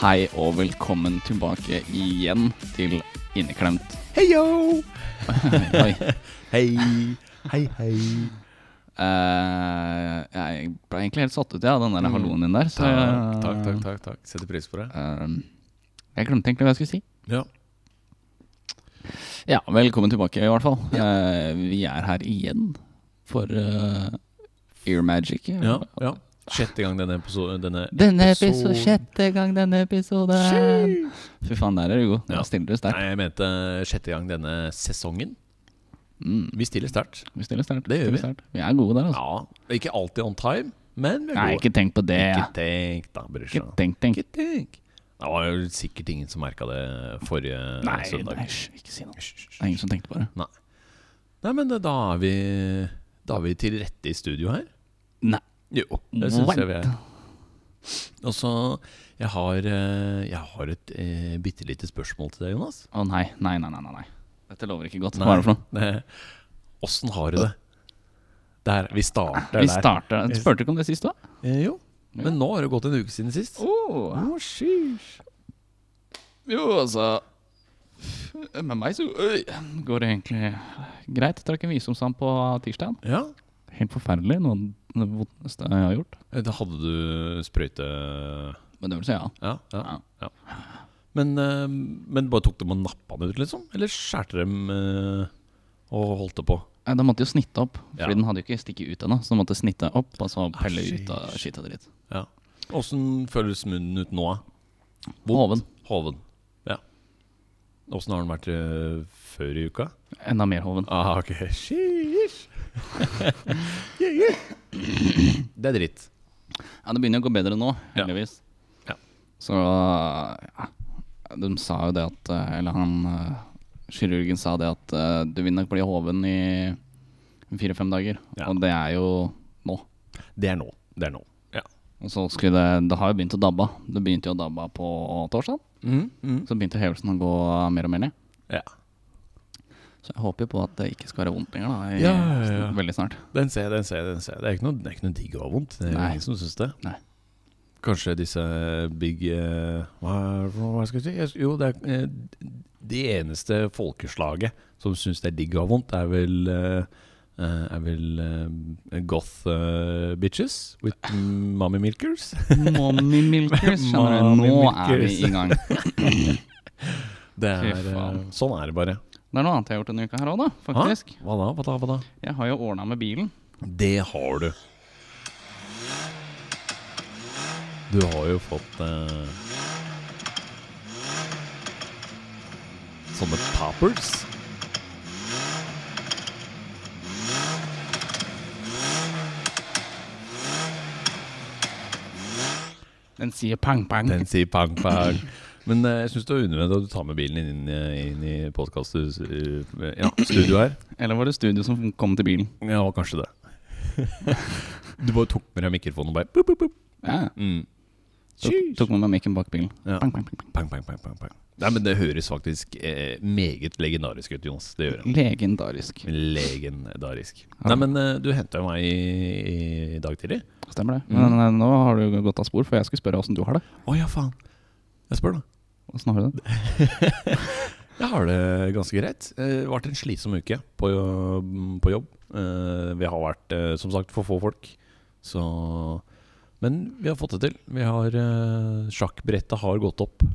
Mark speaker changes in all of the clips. Speaker 1: Hei og velkommen tilbake igjen til Inneklemt.
Speaker 2: Heio!
Speaker 1: Oi.
Speaker 2: Hei, hei, hei.
Speaker 1: Eh, jeg ble egentlig helt satt ut ja, av den der halloen din der. Så
Speaker 2: Mm. Takk, takk, takk. takk, takk. Setter pris på det.
Speaker 1: Eh, jeg glemte egentlig hva jeg skulle si.
Speaker 2: Ja.
Speaker 1: Ja, velkommen tilbake i hvert fall. Eh, vi er her igjen for eh, Ear Magic.
Speaker 2: ja, ja. Sjette gang denne episoden denne
Speaker 1: Denne episode,
Speaker 2: episode-
Speaker 1: sjette gang denne episoden. Fy faen, der er du god.
Speaker 2: Ja.
Speaker 1: Da stiller du sterkt.
Speaker 2: Nei, jeg mente sjette gang denne sesongen.
Speaker 1: Mm,
Speaker 2: Vi stiller sterkt.
Speaker 1: vi stiller sterkt.
Speaker 2: Det gjør
Speaker 1: stiller
Speaker 2: vi.
Speaker 1: sterkt. Vi er gode der, altså.
Speaker 2: Ja. Ikke alltid on time, men vi er
Speaker 1: Nei,
Speaker 2: gode.
Speaker 1: ikke tenk på det. ja.
Speaker 2: Ikke tenk, da, brorsan.
Speaker 1: Ikke tenk, tenk.
Speaker 2: Ikke tenk. Det var jo sikkert ingen som merka det forrige
Speaker 1: Nei,
Speaker 2: søndag.
Speaker 1: nei, hysj, ikke si noe.
Speaker 2: Hysj, hysj.
Speaker 1: Det er ingen som tenkte på det.
Speaker 2: Nei, men da er vi Da er vi til rette i studio her.
Speaker 1: Nei.
Speaker 2: Jo,
Speaker 1: Mm.
Speaker 2: det syns jeg vi er.
Speaker 1: Vent.
Speaker 2: Og så jeg har, eh, jeg har et eh, bitte lite spørsmål til deg, Jonas.
Speaker 1: Å nei, nei, nei, nei, nei, nei. Dette lover ikke godt.
Speaker 2: Nei.
Speaker 1: Hva er det for noe?
Speaker 2: Eh, Åssen har du det? Der, vi starter
Speaker 1: Vi
Speaker 2: der.
Speaker 1: starter Spurte du ikke om det sist, da?
Speaker 2: Eh, jo,
Speaker 1: Ja.
Speaker 2: men nå har det gått en uke siden sist.
Speaker 1: Oh. Jo, altså Med meg så øy, går det egentlig greit. Jeg trakk en visdomsand på tirsdag.
Speaker 2: Ja,
Speaker 1: Helt forferdelig. Noe av det vondeste jeg har gjort.
Speaker 2: Eh, Da hadde du sprøyte eh,
Speaker 1: Bedøvelse, ja.
Speaker 2: Ja. ja,
Speaker 1: Ja.
Speaker 2: ja. Men, eh, men bare tok dem og nappa den ut, liksom? Eller skjærte dem eh, og holdt det på?
Speaker 1: Nei, Da måtte jeg jo snitte opp,
Speaker 2: Ja.
Speaker 1: Fordi den hadde jo ikke stikket ut ennå. Så den måtte snitte opp og så pelle
Speaker 2: Ah,
Speaker 1: ut av skitt og dritt.
Speaker 2: Ja. Åssen føles munnen ut nå?
Speaker 1: Hoven.
Speaker 2: Hoven. Ja. Åssen har den vært eh, før i uka?
Speaker 1: Enda mer hoven.
Speaker 2: Ah, ok. Sheesh. Yeah, yeah. Det er dritt.
Speaker 1: Ja, det begynner å gå bedre nå,
Speaker 2: Ja.
Speaker 1: heldigvis.
Speaker 2: Ja.
Speaker 1: Så ja, De sa jo det at eh, Eller han eh, kirurgen sa det at eh, du vil nok bli hoven i fire-fem dager.
Speaker 2: Ja.
Speaker 1: Og det er jo nå.
Speaker 2: Det er nå. Det er nå. Ja.
Speaker 1: Og så skulle det Det har jo begynt å dabbe av. Det begynte jo å dabbe av på torsdag.
Speaker 2: Mm,
Speaker 1: Så begynte hevelsen å gå mer og mer ned.
Speaker 2: ja.
Speaker 1: Så jeg håper jo på at det ikke skal være vondt lenger da i,
Speaker 2: Ja, ja, ja.
Speaker 1: veldig snart.
Speaker 2: Den ser jeg, den ser jeg, den ser jeg. Det er ikke noe, det er ikke noe digg å ha vondt. Det er jo
Speaker 1: Nei.
Speaker 2: ingen som syns det.
Speaker 1: Nei.
Speaker 2: Kanskje disse big eh, Hva, hva skal jeg si? Jo, det er eh, Det eneste folkeslaget som syns det er digg å ha vondt, er vel eh, eh, er vel eh, goth eh, bitches with
Speaker 1: Ah.
Speaker 2: mommy milkers.
Speaker 1: Mommy milkers, skjønner du. Nå er vi
Speaker 2: Mommymilkers.
Speaker 1: i gang.
Speaker 2: Det er,
Speaker 1: Fy faen.
Speaker 2: eh, sånn er det bare.
Speaker 1: Det er noe annet jeg har gjort denne uka her òg, da. Faktisk.
Speaker 2: Hva da? Hva da? Hva da?
Speaker 1: Jeg har jo ordna med bilen.
Speaker 2: Det har du. Du har jo fått eh, sånne poppers.
Speaker 1: Den sier pang-pang.
Speaker 2: Den sier pang, pang. Men eh, jeg syns det er unødvendig at du tar med bilen inn, eh, inn i podkastet ja, studio her.
Speaker 1: Eller var det studio som kom til bilen?
Speaker 2: Ja, kanskje det. Du bare tok med deg mikrofonen og bare boop, boop, boop.
Speaker 1: Ja.
Speaker 2: Mm.
Speaker 1: Tok, tok med meg mikken bak bilen.
Speaker 2: Ja.
Speaker 1: Pang, pang, pang, pang.
Speaker 2: Pang, pang, pang, pang, pang. Nei, men det høres faktisk eh, meget legendarisk ut, Jonas. Det gjør det.
Speaker 1: Legendarisk.
Speaker 2: Legendarisk.
Speaker 1: Ja.
Speaker 2: Nei, men eh, du henta jo meg i, i dag tidlig.
Speaker 1: Stemmer det.
Speaker 2: Mm.
Speaker 1: Men eh, nå har du gått av spor, for jeg skulle spørre åssen du har det.
Speaker 2: Å ja, faen. Jeg spør, da.
Speaker 1: Hvordan har du det?
Speaker 2: Jeg har det ganske greit. Eh, Det har vært en slitsom uke på, jo- på jobb. Eh, Vi har vært, eh, som sagt, for få folk. Så Men vi har fått det til. Vi har eh, Sjakkbrettet har gått opp.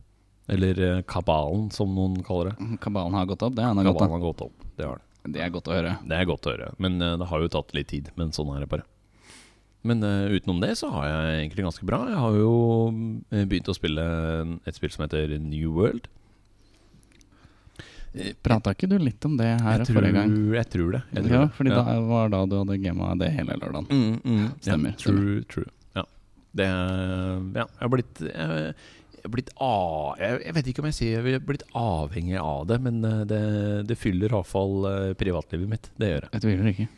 Speaker 2: Eller eh, kabalen, som noen kaller det.
Speaker 1: Kabalen har gått opp. Det er, noe godt,
Speaker 2: Kabalen har gått opp. Det har den.
Speaker 1: da. det er godt å høre.
Speaker 2: Det er godt å høre. Men eh, det har jo tatt litt tid. Men sånn er det bare. Men eh, utenom det så har jeg egentlig ganske bra. Jeg har jo eh, begynt å spille et spill som heter New World.
Speaker 1: Prata ikke du litt om det her
Speaker 2: jeg, tror,
Speaker 1: forrige gang?
Speaker 2: jeg tror det. Jeg tror
Speaker 1: Ja,
Speaker 2: det.
Speaker 1: fordi
Speaker 2: Ja.
Speaker 1: det var da du hadde gama det hele lørdagen.
Speaker 2: Mm, mm,
Speaker 1: Stemmer,
Speaker 2: Ja, true, true. Ja. Det er, ja, jeg har blitt jeg, jeg har blitt av, jeg, jeg vet ikke om jeg sier jeg har blitt avhengig av det, men eh, det, det fyller iallfall eh, privatlivet mitt. Det gjør det.
Speaker 1: Jeg tviler ikke.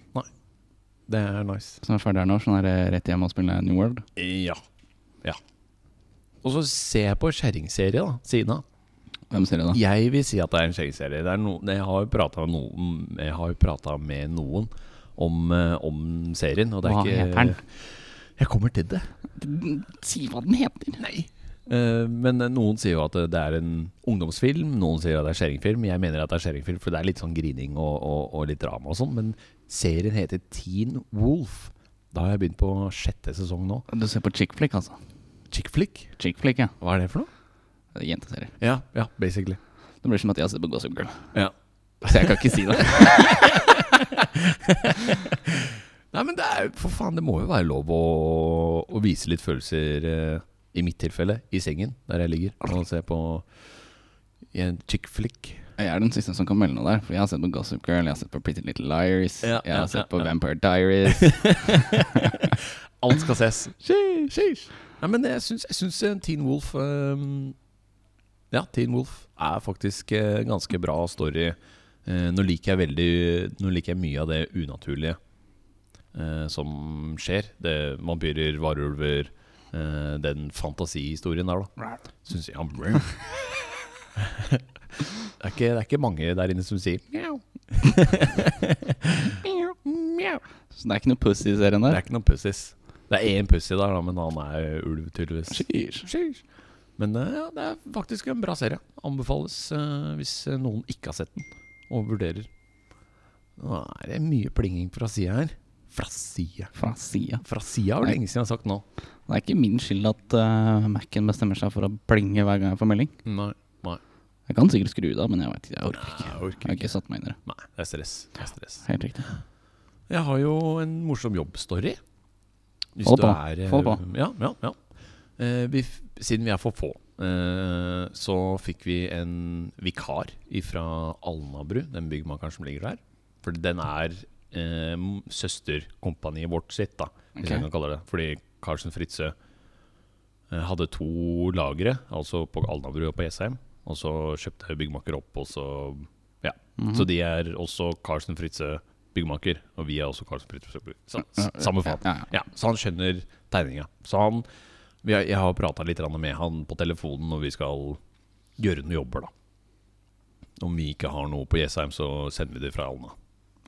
Speaker 2: Det er nice.
Speaker 1: Så når jeg er ferdig her nå, så er det rett hjem og spille New World.
Speaker 2: Ja. Og så ser jeg på kjerringserie, da. Siden av.
Speaker 1: Hvem sier det, da?
Speaker 2: Jeg vil si at det er en kjerringserie. Det er no, jeg har jo prata no, jeg har jo pratet med noen om, eh, om serien, og det er
Speaker 1: Hva
Speaker 2: ikke
Speaker 1: heter den?
Speaker 2: Jeg kommer til det.
Speaker 1: Si hva den heter!
Speaker 2: Nei. Eh, Men eh, noen sier jo at eh, det er en ungdomsfilm, noen sier at det er skjæringfilm. Jeg mener at det er skjæringfilm, for det er litt sånn grining og, og, og litt drama og sånn. Men serien heter Teen Wolf. Da har jeg begynt på sjette sesong nå.
Speaker 1: Du ser på chick flick, altså.
Speaker 2: Chick flick?
Speaker 1: Chick flick, ja.
Speaker 2: Hva er det for noe?
Speaker 1: Det er Jenteserie.
Speaker 2: Ja, ja basically.
Speaker 1: Det blir som at jeg ser på Gossip Girl.
Speaker 2: Ja.
Speaker 1: Så jeg kan ikke si det.
Speaker 2: Nei, men det er jo for faen, det må jo være lov å, å vise litt følelser, eh, i mitt tilfelle, i sengen der jeg ligger og ser på i en chick flick.
Speaker 1: Jeg er den siste som kan melde noe der, for jeg har sett på Gossip Girl, jeg har sett på Pretty Little Liars,
Speaker 2: Ja,
Speaker 1: jeg har
Speaker 2: ja,
Speaker 1: sett
Speaker 2: ja,
Speaker 1: på
Speaker 2: ja.
Speaker 1: Vampire Diaries.
Speaker 2: Alt skal ses. Sheesh, sheesh. Nei, men jeg syns, jeg syns eh, Teen Wolf ehm, Ja, Teen Wolf er faktisk eh, ganske bra story. Eh, nå, liker jeg veldig, nå liker jeg mye av det unaturlige eh, som skjer. Det, vampyrer, varulver eh, Den fantasihistorien der, da. Syns jeg det, er ikke, det er ikke mange der inne som sier mjau. mjau, mjau.
Speaker 1: Så det er ikke noe pussy i serien
Speaker 2: Det
Speaker 1: der.
Speaker 2: er ikke noen pussies. Det er én pussy der, da, men han er jo ulv, tydeligvis.
Speaker 1: Sheesh.
Speaker 2: Sheesh. Men eh, ja, det er faktisk en bra serie. Anbefales eh, hvis eh, noen ikke har sett den, og vurderer. Nå er det mye plinging fra sida her. Fra sida
Speaker 1: Fra sida.
Speaker 2: Fra sida er det lenge siden jeg har sagt nå.
Speaker 1: Det er ikke min skyld at uh, Mac-en bestemmer seg for å blinge hver gang jeg får melding.
Speaker 2: Nei.
Speaker 1: Jeg kan sikkert skru det av, men jeg vet ikke. Jeg orker ikke. Jeg
Speaker 2: Jeg orker
Speaker 1: har
Speaker 2: ikke.
Speaker 1: ikke satt meg inn i det.
Speaker 2: Nei, det er stress. Det er stress.
Speaker 1: Helt riktig.
Speaker 2: Jeg har jo en morsom jobbstory. Hvis
Speaker 1: Få det
Speaker 2: du
Speaker 1: på.
Speaker 2: er, eh,
Speaker 1: Få det på.
Speaker 2: Ja, ja, ja. Eh, vi, f- siden vi er for få, eh, så fikk vi en vikar fra Alnabru, den byggmakeren som ligger der. For den er eh, m- søsterkompaniet vårt sitt, da, hvis
Speaker 1: Ok.
Speaker 2: jeg kan kalle det. Fordi Karlsen Fritzøe eh, hadde to lagre, altså på Alnabru og på Jessheim. Og så kjøpte byggmaker opp, og så Ja.
Speaker 1: Mhm.
Speaker 2: Så de er også Karlsen Fritzøe byggmaker, og vi er også Karlsen Fritzøe. Så, s- samme faen.
Speaker 1: Ja, ja.
Speaker 2: Ja, så han skjønner tegninga. Så han vi har, Jeg har prata litt grann med han på telefonen når vi skal gjøre noen jobber, da. Om vi ikke har noe på Jessheim, så sender vi det fra Alna.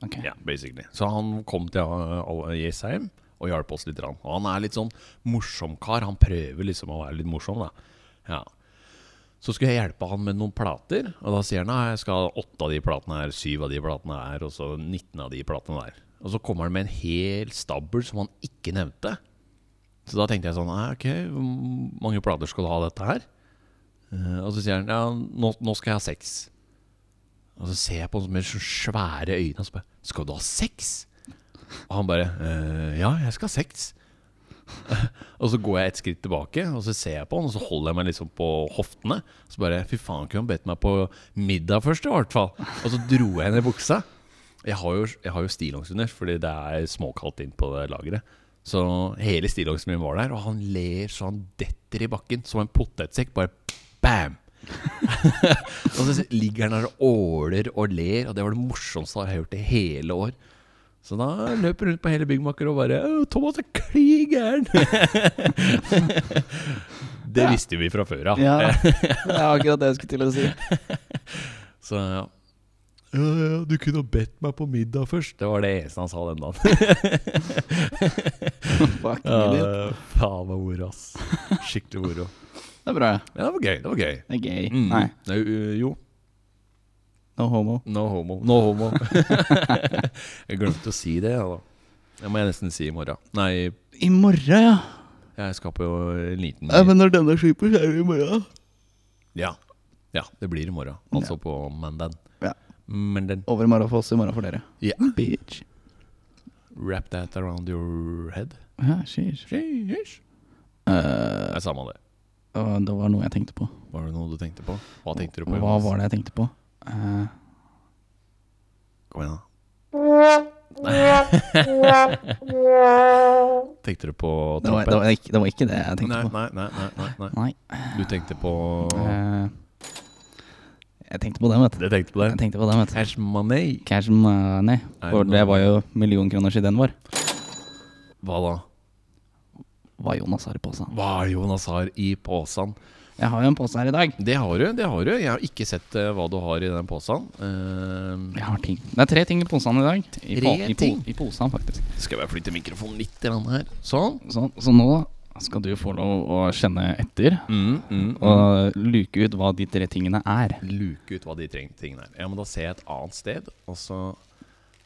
Speaker 1: Ok.
Speaker 2: Ja, basically. Så han kom til uh, Al- Jessheim og hjalp oss litt. grann. Og han er litt sånn morsom kar. Han prøver liksom å være litt morsom, da. Ja. Så skulle jeg hjelpe han med noen plater, og da sier han at jeg skal ha åtte av de platene her, syv av de platene her, og så 19 av de platene der. Og så kommer han med en hel stabel som han ikke nevnte. Så da tenkte jeg sånn, «Nei, ok, hvor mange plater skal du ha av dette her? Eh, Og så sier han, ja, nå, nå skal jeg ha seks. Og så ser jeg på han med så svære øyne og så bare Skal du ha sex? Og han bare «Eh, Ja, jeg skal ha sex. og så går jeg et skritt tilbake, og så ser jeg på han, og så holder jeg meg liksom på hoftene. Så bare Fy faen, kunne han bedt meg på middag først, i hvert fall? Og så dro jeg ned buksa. Jeg har jo, jeg har jo stillongs under, fordi det er småkaldt inn på det lageret. Så hele stillongsen min var der, og han ler så han detter i bakken som en potetsekk. Bare bam! Og så ligger han der og åler og ler, og det var det morsomste jeg har hørt i hele år. Så da løper hun rundt på hele byggmaker og bare «Å, 'Thomas er klin gæren'. det visste vi fra før av.
Speaker 1: Ja, det er akkurat det jeg skulle til å si.
Speaker 2: Så ja. Ja, ja, du kunne ha bedt meg på middag først. Det var det eneste han sa den dagen.
Speaker 1: Fuck, idiot.
Speaker 2: Ja, faen meg moro, ass. Skikkelig moro.
Speaker 1: Det er bra.
Speaker 2: Ja, det var gøy. Det var gøy.
Speaker 1: Det er gøy.
Speaker 2: Mm.
Speaker 1: Nei,
Speaker 2: Nei, ø, jo.
Speaker 1: no homo.
Speaker 2: No homo. No homo. jeg glemte å si det, jeg, da. Det må jeg nesten si i morgen. Nei,
Speaker 1: I morgen, ja.
Speaker 2: jeg skaper jo en liten
Speaker 1: når denne slipper, så er det i morgen.
Speaker 2: ja. ja, det blir i morgen. Altså på mandag.
Speaker 1: Ja.
Speaker 2: Mandag.
Speaker 1: Over i morgen for oss, i morgen for dere.
Speaker 2: Ja.
Speaker 1: Bitch.
Speaker 2: Wrap that around your head.
Speaker 1: Ja, sheesh.
Speaker 2: Sheesh.
Speaker 1: Eh,
Speaker 2: Det er samme det.
Speaker 1: og det var noe jeg tenkte på.
Speaker 2: Var det noe du tenkte på? Hva tenkte du på?
Speaker 1: Hva var det jeg tenkte på? Eh,
Speaker 2: Kom igjen, da. Tenkte du på
Speaker 1: det, var, det,
Speaker 2: trompet?
Speaker 1: var ikke, det var ikke det jeg tenkte
Speaker 2: Nei,
Speaker 1: på.
Speaker 2: nei, nei, nei, nei, nei.
Speaker 1: Nei.
Speaker 2: Du tenkte på
Speaker 1: Eh, jeg tenkte på den, vet du.
Speaker 2: Jeg tenkte på
Speaker 1: Jeg
Speaker 2: det.
Speaker 1: tenkte på den, vet du.
Speaker 2: Cash money.
Speaker 1: Cash money.
Speaker 2: Er
Speaker 1: For
Speaker 2: det
Speaker 1: det
Speaker 2: noe-
Speaker 1: var jo millionkroners i den var.
Speaker 2: Hva da?
Speaker 1: var Jonas har i posen.
Speaker 2: Hva er Jonas har i posen?
Speaker 1: Jeg har jo en pose her i dag.
Speaker 2: Det har du, det har du. Jeg har ikke sett eh, hva du har i den posen. Eh,
Speaker 1: Jeg har ting. Det er tre ting i posen i dag. I, po
Speaker 2: Tre
Speaker 1: i, po
Speaker 2: ting?
Speaker 1: i posen, faktisk.
Speaker 2: skal jeg bare flytte mikrofonen litt grann her. Sånn.
Speaker 1: Så, så nå skal du få lov å kjenne etter
Speaker 2: Mm, mm,
Speaker 1: og luke ut hva de tre tingene er.
Speaker 2: luke ut hva de treng- tingene er. Jeg må da se et annet sted, og så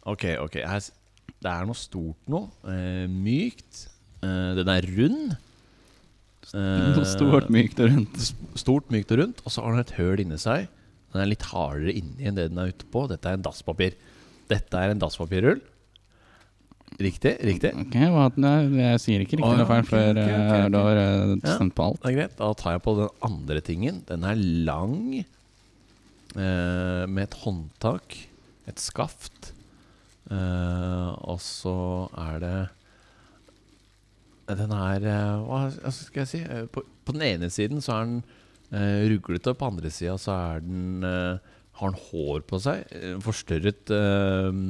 Speaker 2: Ok, ok. Her, s- det er noe stort nå. Eh, mykt. Eh, den er rund. Eh,
Speaker 1: Noe stort, mykt og rundt.
Speaker 2: s- Stort, mykt og rundt. Og så har den et høl inni seg. Den er litt hardere inni enn det den er ute på. Dette er en dasspapir. Dette er en dasspapirrull. Riktig, riktig.
Speaker 1: Ok, hva, nei, jeg sier ikke riktig
Speaker 2: Å, ja,
Speaker 1: eller feil
Speaker 2: ok,
Speaker 1: før
Speaker 2: ok, ok,
Speaker 1: eh,
Speaker 2: ok.
Speaker 1: du har eh, stemt på alt.
Speaker 2: Det er greit. Da tar jeg på den andre tingen. Den er lang, eh, med et håndtak, et skaft. Eh, og så er det Den er eh, Hva skal jeg si? Eh, På, på den ene siden så er den eh, ruglete, og på andre sida så er den eh, har den hår på seg. eh, Forstørret eh,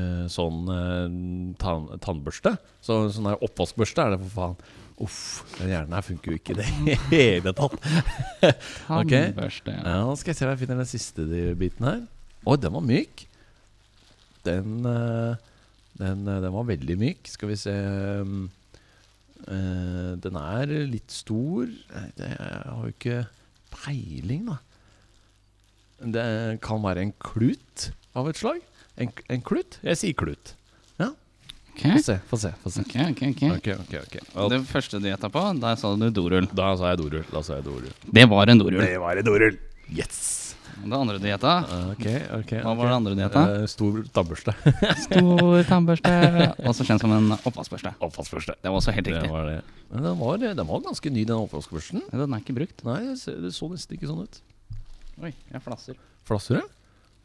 Speaker 2: eh, sånn eh, tann, tannbørste. Så, sånn der oppvaskbørste er det, for faen. Uff, den hjernen her funker jo ikke i det hele tatt. Ok.
Speaker 1: Tannbørste.
Speaker 2: Ja, nå skal jeg se om jeg finner den siste de- biten her. Oi, den var myk. Den, eh, den, eh, den var veldig myk. Skal vi se mm, eh, Den er litt stor. Nei, det, jeg har jo ikke peiling, da. Det kan være en klut av et slag. En, en klut? Jeg sier klut.
Speaker 1: Ok,
Speaker 2: Få se, få se. Få se.
Speaker 1: ok, ok. ok.
Speaker 2: Ok, ok, ok. Og
Speaker 1: Det første du gjetta på, der sa du dorull.
Speaker 2: Da sa jeg dorull. Da sa jeg dorull.
Speaker 1: Det var en dorull.
Speaker 2: Det var en dorull. Yes!
Speaker 1: Det andre du gjetta,
Speaker 2: Ok, ok.
Speaker 1: hva
Speaker 2: ok.
Speaker 1: var det andre du gjetta?
Speaker 2: Eh, stor tannbørste.
Speaker 1: Stor tannbørste, også kjent som en oppvaskbørste.
Speaker 2: Oppvaskbørste.
Speaker 1: Det var også helt
Speaker 2: Det
Speaker 1: riktig.
Speaker 2: var det. Men den var, den var ganske ny, den oppvaskbørsten.
Speaker 1: Nei, Den er ikke brukt.
Speaker 2: Nei, det så, det så nesten ikke sånn ut.
Speaker 1: Oi, jeg flasser.
Speaker 2: Flasser det?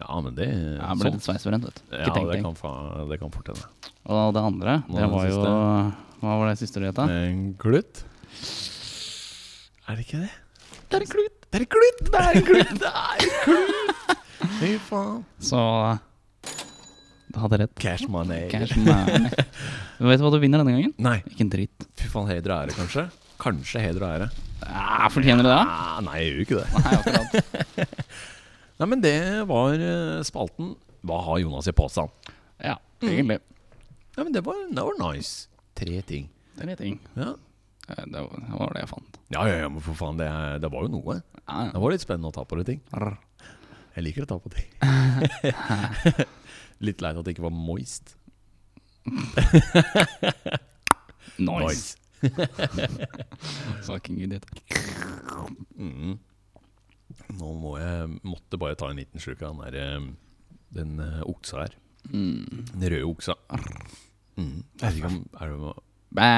Speaker 2: Ja, men det
Speaker 1: Jeg ble
Speaker 2: sånn.
Speaker 1: litt sveisbrent, vet du.
Speaker 2: Ja,
Speaker 1: Ikke tenk,
Speaker 2: det
Speaker 1: tenk.
Speaker 2: kan, fa- det kan fort hende.
Speaker 1: Og det andre,
Speaker 2: Hva
Speaker 1: det
Speaker 2: var
Speaker 1: var
Speaker 2: det
Speaker 1: jo Hva var det siste du gjetta?
Speaker 2: En klutt? Er det ikke det?
Speaker 1: Det er en klut!
Speaker 2: Det er en klutt! Det er en klutt! Det er en klutt! Fy faen.
Speaker 1: Så du hadde rett.
Speaker 2: Cash money.
Speaker 1: Cash man. eh, Vet du hva du vinner denne gangen?
Speaker 2: Nei,
Speaker 1: Ikke en dritt.
Speaker 2: fy faen. Heder og ære, kanskje? Kanskje heder og ære.
Speaker 1: Ah, fortjener du det?
Speaker 2: Ah, nei, jeg gjør jo ikke det.
Speaker 1: Nei, akkurat.
Speaker 2: Nei, men det var eh, spalten Hva har Jonas i posen?
Speaker 1: Ja,
Speaker 2: Mm.
Speaker 1: egentlig.
Speaker 2: Ja, men det var, det var nice. Tre ting.
Speaker 1: Det er litt ting.
Speaker 2: Ja,
Speaker 1: Eh, Det var- det var det jeg fant. Ah,
Speaker 2: ja, ja, ja men for faen, det, er- det var jo noe.
Speaker 1: Ja, ja.
Speaker 2: Det var litt spennende å ta på det ting. Jeg liker å ta på ting. litt leit at det ikke var moist.
Speaker 1: Nice. Fucking idiot.
Speaker 2: Mm. Nå må jeg måtte bare ta en liten slurk av den der eh, den eh, oksa her.
Speaker 1: Mm.
Speaker 2: Den røde oksa. Mm. Jeg vet ikke om, er det,
Speaker 1: Bæ!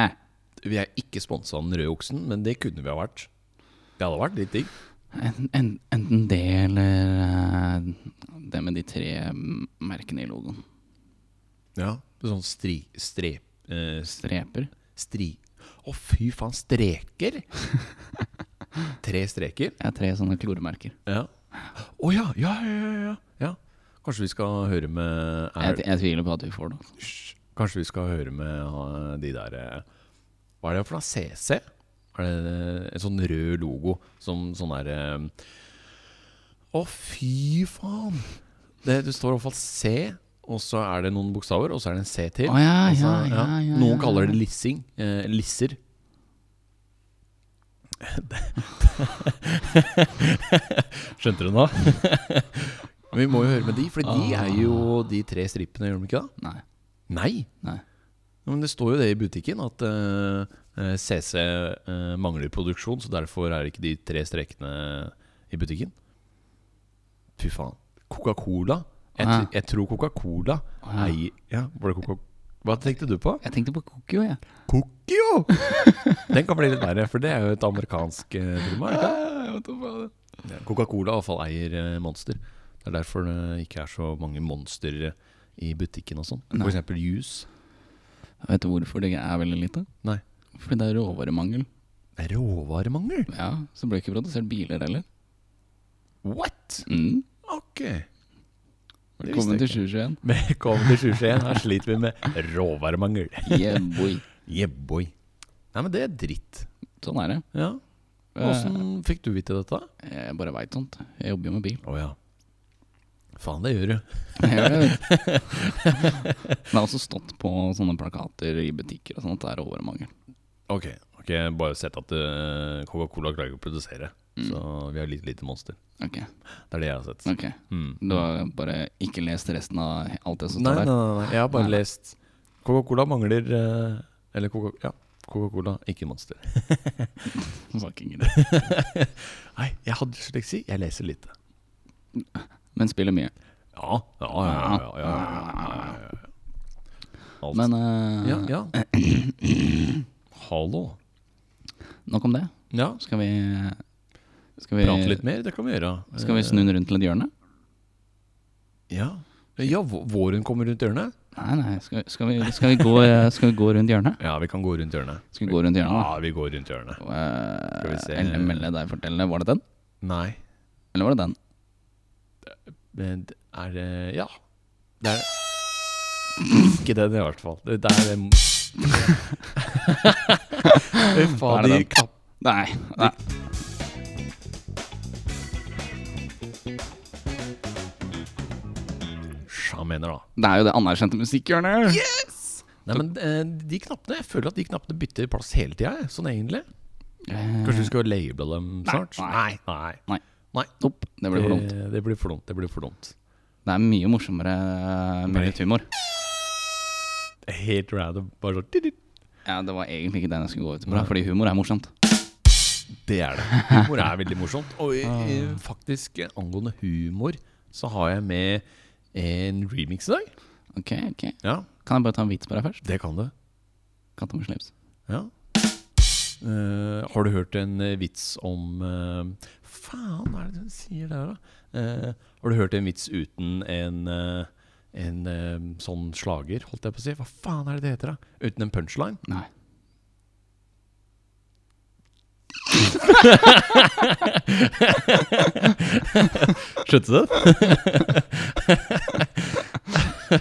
Speaker 2: vi er ikke sponsa av den røde oksen, men det kunne vi ha vært. Det hadde vært litt digg.
Speaker 1: En, en, enten det eller eh, det med de tre mm, merkene i logoen.
Speaker 2: Ja. Sånn stri... Stre... eh,
Speaker 1: Streper.
Speaker 2: Stri... Å, fy faen, streker! Tre streker?
Speaker 1: Jeg har tre sånne kloremerker.
Speaker 2: Ja. Å ja, ja, ja, ja, ja, ja. Kanskje vi skal høre med
Speaker 1: Jeg,
Speaker 2: er,
Speaker 1: t- jeg tviler på at vi får det. altså.
Speaker 2: Hysj. Kanskje vi skal høre med eh, de der eh, Hva er det for noe? CC? Er det eh, en sånn rød logo som sånn der eh, Å, fy faen! Det, det står i hvert fall C, og så er det noen bokstaver, og så er det en C til.
Speaker 1: Å ja,
Speaker 2: Altså,
Speaker 1: Ah, ja, ja, ja,
Speaker 2: Noen
Speaker 1: ja.
Speaker 2: kaller det lissing. Eh, lisser. Skjønte du nå? Vi må jo høre med de, for de er jo de tre strippene, gjør de ikke det?
Speaker 1: Nei.
Speaker 2: Nei.
Speaker 1: Nei.
Speaker 2: Ja, Men det står jo det i butikken, at eh, eh, CC eh, mangler produksjon, så derfor er det ikke de tre strekene i butikken. Fy faen. Coca-Cola. Jeg, tr-
Speaker 1: Ah.
Speaker 2: jeg tror Coca-Cola
Speaker 1: Ah.
Speaker 2: eier ja, var det Coca Hva tenkte du på?
Speaker 1: Jeg tenkte på Kokio, jeg.
Speaker 2: Cookio! Den kan bli litt verre, for det er jo et amerikansk eh, firma. er det ikke? Ja, Coca-Cola i hvert fall eier eh, Monster. Det er derfor det ikke er så mange Monster eh, i butikken og sånn. For
Speaker 1: Nei.
Speaker 2: eksempel juice.
Speaker 1: Vet du hvorfor det er veldig lite?
Speaker 2: Nei.
Speaker 1: Fordi det er råvaremangel.
Speaker 2: Det er råvaremangel.
Speaker 1: Ja, Så blir det ikke produsert biler heller.
Speaker 2: What?
Speaker 1: Mm.
Speaker 2: Ok. Det
Speaker 1: Velkommen
Speaker 2: visste jeg
Speaker 1: til
Speaker 2: ikke.
Speaker 1: 2021.
Speaker 2: Velkommen til 2021. Her sliter vi med råvaremangel.
Speaker 1: Yeah, boy.
Speaker 2: Yeah, boy. Nei, men det er dritt.
Speaker 1: Sånn er det.
Speaker 2: Ja. Åssen fikk du vite dette?
Speaker 1: Eh, Jeg bare veit sånt. Jeg jobber jo med bil.
Speaker 2: Å ja. Faen, det gjør du.
Speaker 1: Jeg gjør det, vet du. det har også stått på sånne plakater i butikker og sånt. at Det er overmangel.
Speaker 2: Ok. ok, Bare sett at eh, Coca-Cola klarer ikke å produsere,
Speaker 1: Mm.
Speaker 2: så vi har litt lite monster.
Speaker 1: Ok,
Speaker 2: Det er det jeg har sett.
Speaker 1: ok.
Speaker 2: Mm.
Speaker 1: Du har bare ikke lest resten av alt det som
Speaker 2: nei,
Speaker 1: står
Speaker 2: nei,
Speaker 1: der?
Speaker 2: nei, nei, jeg har bare
Speaker 1: Nei.
Speaker 2: lest Coca-Cola mangler eh, Eller Coca ja, Coca-Cola, ikke Monster.
Speaker 1: Fucking greit.
Speaker 2: Nei, jeg har dysleksi. Jeg leser lite.
Speaker 1: Men spiller mye.
Speaker 2: Ja, ja, ja. ja, ja, ja, ja, ja, ja. Alt.
Speaker 1: Men eh,
Speaker 2: ja, ja. Hallo.
Speaker 1: nok om det.
Speaker 2: Ja,
Speaker 1: Skal vi Skal vi,
Speaker 2: prate litt mer. Det kan vi gjøre.
Speaker 1: Skal vi snu den rundt til et hjørne?
Speaker 2: Eh, Ja. Ja, vå- våren kommer rundt hjørnet.
Speaker 1: Nei, nei. Skal, skal, vi, skal, vi, gå, eh, skal vi gå rundt hjørnet?
Speaker 2: Ja, vi kan gå rundt hjørnet.
Speaker 1: Skal vi gå rundt hjørnet, da?
Speaker 2: Ja, vi går rundt hjørnet. Skal vi se.
Speaker 1: Uh, eller melde deg fortelle. Var det den?
Speaker 2: Nei.
Speaker 1: Eller var det den?
Speaker 2: Men det er det Ja. Det er Ikke den, i hvert fall. Det det er den Fy faen,
Speaker 1: Da er det
Speaker 2: de
Speaker 1: den.
Speaker 2: klapp...
Speaker 1: Nei. nei.
Speaker 2: Sja, mener, da.
Speaker 1: Det er jo det anerkjente musikkhjørnet.
Speaker 2: eh, Nei, men eh, de knappene Jeg føler at de knappene bytter plass hele tida, jeg. Sånn egentlig.
Speaker 1: Eh,
Speaker 2: Kanskje vi skal label dem snart?
Speaker 1: nei.
Speaker 2: Nei.
Speaker 1: Nei.
Speaker 2: Nei.
Speaker 1: opp. Det blir for dumt.
Speaker 2: Det, det blir for dumt. Det blir for dumt.
Speaker 1: Det er mye morsommere eh, med
Speaker 2: Nei.
Speaker 1: litt humor.
Speaker 2: Helt random. Bare sånn «Tidit».
Speaker 1: Ja, Det var egentlig ikke den jeg skulle gå ut på, fordi humor er morsomt.
Speaker 2: Det er det. Humor er veldig morsomt. Og
Speaker 1: Ah.
Speaker 2: eh, faktisk, eh, angående humor, så har jeg med en remix i dag.
Speaker 1: Ok, ok
Speaker 2: Ja,
Speaker 1: Kan jeg bare ta en vits på deg først?
Speaker 2: det kan du.
Speaker 1: Katta med slips.
Speaker 2: Ja. Eh, har du hørt en eh, vits om eh, Faen, hva er det hun sier der, da? Eh, har du hørt en vits uten en, eh, en eh, sånn slager, holdt jeg på å si? Hva faen er det det heter, da? Uten en punchline?
Speaker 1: Nei.
Speaker 2: Skjønte du det?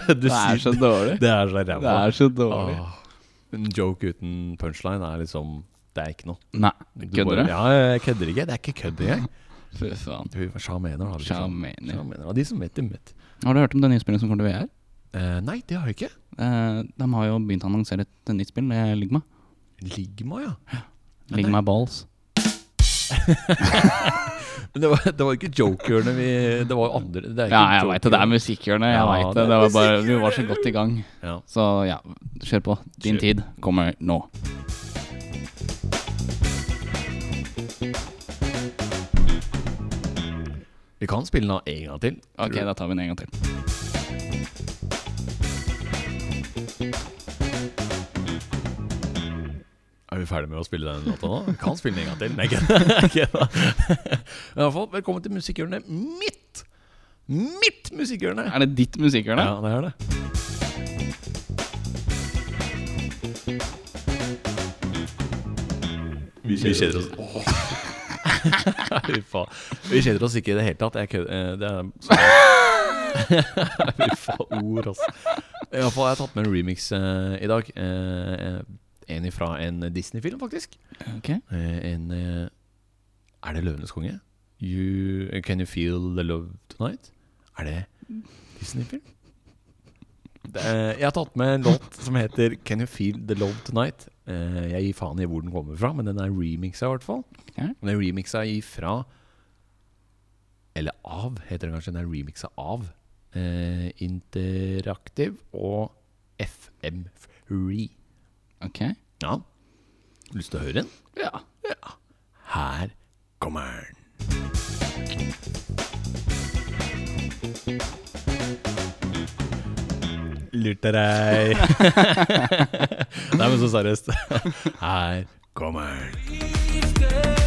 Speaker 2: du
Speaker 1: Det er
Speaker 2: sier
Speaker 1: så dårlig.
Speaker 2: Det er så
Speaker 1: Det
Speaker 2: ræva.
Speaker 1: er så dårlig.
Speaker 2: Åh, En joke uten punchline er liksom Det er ikke noe.
Speaker 1: Nei,
Speaker 2: Du
Speaker 1: kødder
Speaker 2: bare-
Speaker 1: du?
Speaker 2: Ja, jeg kødder ikke. Det er ikke kødd engang.
Speaker 1: Fy faen.
Speaker 2: Hun sjamener, da. liksom.
Speaker 1: Sjamener.
Speaker 2: Sjamener, da. De som vet, de vet.
Speaker 1: Har du hørt om det nye spillet som kommer til VR?
Speaker 2: Eh, nei, det har jeg ikke.
Speaker 1: Eh, de har jo begynt å annonsere et nytt spill, eh, Ligma.
Speaker 2: Ligma, ja.
Speaker 1: Ligma Balls.
Speaker 2: Men det var, det var ikke jokerne vi Det var jo andre det er ikke
Speaker 1: Ja, jeg veit det. Det er
Speaker 2: jokerne.
Speaker 1: musikkhjørnet. Jeg
Speaker 2: Ja,
Speaker 1: vet
Speaker 2: det
Speaker 1: det.
Speaker 2: er
Speaker 1: Det var bare, vi var så godt i gang.
Speaker 2: ja.
Speaker 1: Så ja, kjør på. Din
Speaker 2: Kjør.
Speaker 1: tid kommer nå.
Speaker 2: Vi kan spille den av en gang til. tror
Speaker 1: Ok,
Speaker 2: du?
Speaker 1: da tar vi den en gang til.
Speaker 2: Er vi ferdige med å spille den låta nå? Vi kan spille den en gang til. Nei, ikke- ikke da. Men i hvert fall, velkommen til musikkhjørnet mitt! Mitt musikkhjørne!
Speaker 1: Er det ditt musikkhjørne?
Speaker 2: Ja, det er det. Vi kjeder oss. Fy faen. Vi kjeder oss ikke i det hele tatt. Jeg kødder. eh, Det er Fy faen, ord, altså. I hvert fall, jeg har tatt med en remix eh, i dag. Eh, en ifra en Disney-film, faktisk.
Speaker 1: Ok.
Speaker 2: Eh, en eh, Er det 'Løvenes konge'? You, can you feel the love tonight? Er det Disney-film? Det er- Eh, Jeg har tatt med en låt som heter 'Can You Feel The Love Tonight'. Eh, Jeg gir faen i hvor den kommer fra, men den er remixa i hvert fall.
Speaker 1: Ja.
Speaker 2: Den er remixa ifra Eller av, heter den kanskje. Den er remixa av eh, Interaktiv og FM Free.
Speaker 1: Ok.
Speaker 2: Ja. Lyst til å høre den?
Speaker 1: Ja.
Speaker 2: Her kommer den. Lurte deg. Nei, men så seriøst. Her kommer den.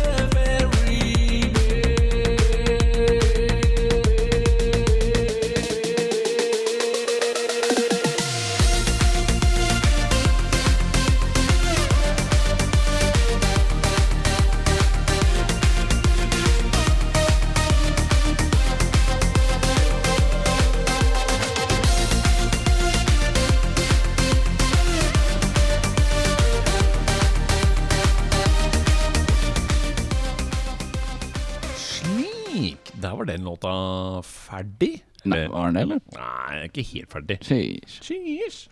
Speaker 3: Thank
Speaker 2: der var den låta ferdig.
Speaker 1: Nei,
Speaker 2: Eller-
Speaker 1: var den det, eller?
Speaker 2: Nei, ikke helt ferdig.
Speaker 1: Sheesh.
Speaker 2: Sheesh.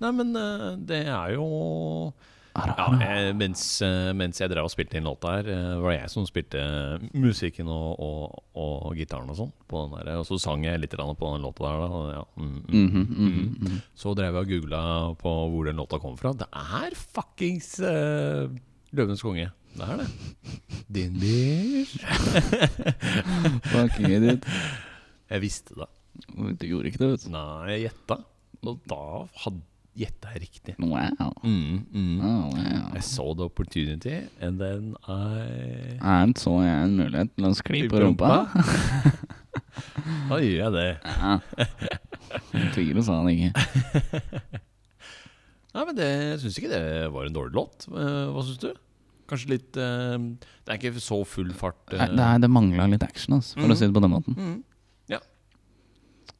Speaker 2: Nei, men eh, det er jo Ja,
Speaker 1: Arana.
Speaker 2: eh, mens, eh, mens jeg drev og spilte inn låta her, eh, var det jeg som spilte eh, musikken og, og, og gitaren og sånn. på den der, Og så sang jeg litt grann på den låta der. Da. og Ja. Mm, mm.
Speaker 1: Mhm, mhm, mhm.
Speaker 2: Så drev jeg og googla på hvor den låta kom fra. Det er fuckings eh, Løvenes konge. Det er det. Din bitch.
Speaker 1: Fuck it, dude.
Speaker 2: Jeg visste det.
Speaker 1: Du gjorde ikke det, vet du.
Speaker 2: Nei, jeg gjetta. Og da had- gjetta jeg riktig.
Speaker 1: Wow.
Speaker 2: Mm, mm.
Speaker 1: Oh, wow.
Speaker 2: I saw the opportunity, and then I
Speaker 1: Her så jeg en mulighet til å skli på rumpa.
Speaker 2: da gjør jeg det.
Speaker 1: Ja. Tviler sa han ikke.
Speaker 2: Nei, men det jeg syns ikke det var en dårlig låt. Eh, Hva syns du? Kanskje litt eh, Det er ikke så full fart. eh.
Speaker 1: Nei, Det, er- det mangla litt action, altså, for
Speaker 2: Mhm.
Speaker 1: å si det på den måten.
Speaker 2: Mhm. Ja.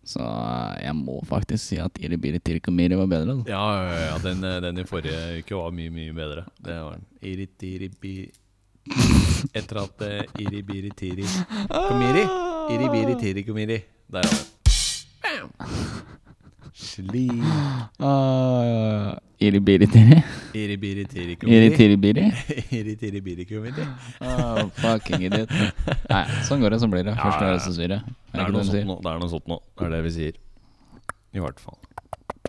Speaker 1: Så eh, jeg må faktisk si at Iri Biri Tirkumiri var bedre. Da.
Speaker 2: Ja, ja, ja, ja. Den, eh, den i forrige uke var mye, mye bedre. Det var den. Iritiribi Etter at eh, iribiri-tiri komiri. Iribiri-tiri komiri. Der var den. Bam! Sli
Speaker 1: Uh, Iri Biri Tiri.
Speaker 2: Iribiri-tiri
Speaker 1: Iri
Speaker 2: komiri.
Speaker 1: Tiri Biri.
Speaker 2: Iritiri-biri komiri.
Speaker 1: Oh, fucking idiot. Nei, sånn går det, sånn blir det. Først
Speaker 2: Ja, ja,
Speaker 1: er
Speaker 2: ja.
Speaker 1: det så syre.
Speaker 2: Det er noe sånn. sånt nå. Det er noe sånt nå. Det er det vi sier. I hvert fall.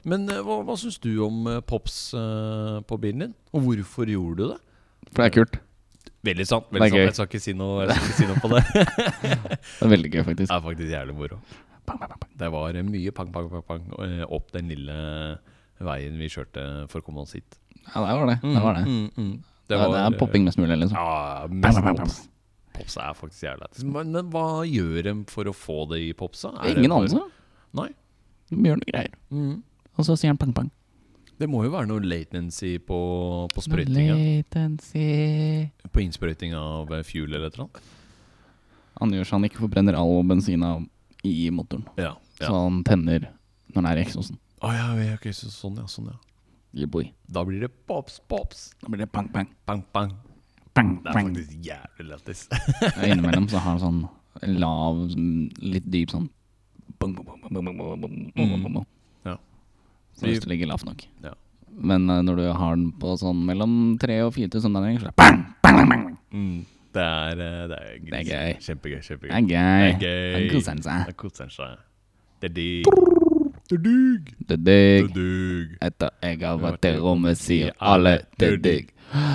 Speaker 2: Men eh, hva, hva syns du om eh, Pops eh, på bilen din? Og hvorfor gjorde du det?
Speaker 1: For det er kult.
Speaker 2: Veldig sant.
Speaker 1: Det er
Speaker 2: veldig sant
Speaker 1: gøy.
Speaker 2: Jeg skal ikke si noe, jeg skal ikke si noe på det.
Speaker 1: Det er veldig gøy,
Speaker 2: Det
Speaker 1: faktisk.
Speaker 2: er faktisk jævlig moro.
Speaker 1: Bang, bang, bang, bang.
Speaker 2: Det var eh, mye pang, pang, pang, pang eh, opp den lille veien vi kjørte for å komme oss hit.
Speaker 1: Ja, det var det. Det var det.
Speaker 2: Mm, mm, mm.
Speaker 1: Det,
Speaker 2: var,
Speaker 1: det er popping mest mulig, liksom.
Speaker 2: Ja,
Speaker 1: Bang,
Speaker 2: mest
Speaker 1: bang, bang, bang.
Speaker 2: pops. Pops er faktisk jævlig lættis. Men, men hva gjør de for å få det i popsa? Er det
Speaker 1: Ingen
Speaker 2: bare-
Speaker 1: anelse.
Speaker 2: Nei.
Speaker 1: De gjør noe greier.
Speaker 2: Mm.
Speaker 1: Og så sier han pang, pang.
Speaker 2: Det må jo være noe latency på, på sprøytinga.
Speaker 1: Latency
Speaker 2: På innsprøyting av eh, fuel eller et eller annet.
Speaker 1: Han gjør så han ikke forbrenner all bensina i motoren.
Speaker 2: Ja.
Speaker 1: Så
Speaker 2: ja.
Speaker 1: han tenner når den er i eksosen.
Speaker 2: Å ja, ja, ok, så, sånn ja. Sånn ja.
Speaker 1: Yeah, boy.
Speaker 2: Da blir det pops, pops.
Speaker 1: Da blir det pang, pang.
Speaker 2: Pang, pang.
Speaker 1: Pang,
Speaker 2: Det er
Speaker 1: pang.
Speaker 2: faktisk jævlig lættis.
Speaker 1: Og innimellom så har han sånn lav, sånn litt dyp sånn bang, bang, bang, bang, bang, bang, bang, bang, bang, bang.
Speaker 2: Mm. Ja.
Speaker 1: Så hvis det ligger lavt nok.
Speaker 2: Ja.
Speaker 1: Men eh, når du har den på sånn mellom 3 og 4000 omdreininger, så er det bang!
Speaker 2: Mm. Det er, eh, det er,
Speaker 1: Det er gøy.
Speaker 2: Kjempegøy. kjempegøy
Speaker 1: Det er gøy.
Speaker 2: Det er gøy.
Speaker 1: Han koser han seg.
Speaker 2: Da koser han seg. Det er digg. Det er digg.
Speaker 1: Det er
Speaker 2: Det er
Speaker 1: digg.
Speaker 2: digg.
Speaker 1: Etter jeg har vært i rommet, sier alle det er digg.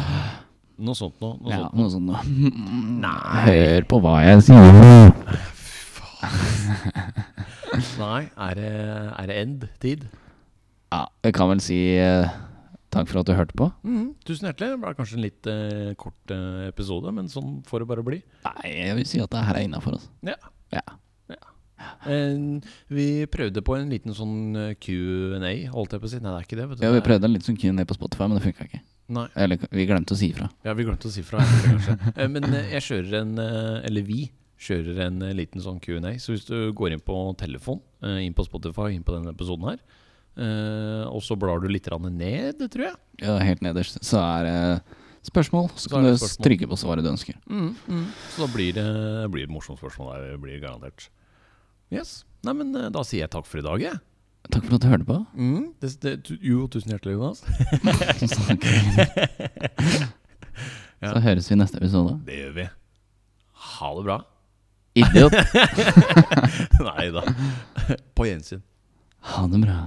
Speaker 2: Noe sånt noe. noe
Speaker 1: Ja,
Speaker 2: sånt.
Speaker 1: noe sånt noe. Hør på hva jeg sier.
Speaker 2: Nei, er det, er det end-tid?
Speaker 1: Ja, jeg kan vel si eh, takk for at du hørte på.
Speaker 2: Mhm. Tusen hjertelig. Det ble kanskje en litt eh, kort eh, episode, men sånn får det bare bli.
Speaker 1: Nei, jeg vil si at det her er innafor altså. oss. Ja.
Speaker 2: Ja. En, Eh, vi prøvde på en liten sånn eh, Q&A, holdt jeg på å si. Nei, det er ikke det. vet du.
Speaker 1: Ja,
Speaker 2: Det
Speaker 1: vi
Speaker 2: er-
Speaker 1: prøvde en litt sånn Q&A på Spotify, men det funka ikke.
Speaker 2: Nei.
Speaker 1: Eller vi glemte å si ifra.
Speaker 2: Ja, vi glemte å si fra. kanskje. Eh, Men eh, jeg kjører en eh, Eller vi kjører en eh, liten sånn Q&A. Så hvis du går inn på telefon, eh, inn på Spotify, inn på denne episoden her, eh, og så blar du litt grann ned, tror jeg.
Speaker 1: Ja, helt nederst så er det spørsmål. Så
Speaker 2: Så er
Speaker 1: kan
Speaker 2: det
Speaker 1: du
Speaker 2: spørsmål.
Speaker 1: trykke på svaret du ønsker.
Speaker 2: Mm, Så da blir det, blir det morsomt spørsmål der. det Blir garantert. Yes. Nei, men eh, da sier jeg takk for i dag, jeg. Mm.
Speaker 1: Takk for at du hørte på.
Speaker 2: Det, det, tu- jo, tusen hjertelig, Jonas.
Speaker 1: Så høres vi i neste episode.
Speaker 2: Det gjør vi. Ha det bra.
Speaker 1: Idiot!
Speaker 2: Nei da. På gjensyn.
Speaker 1: Ha det bra.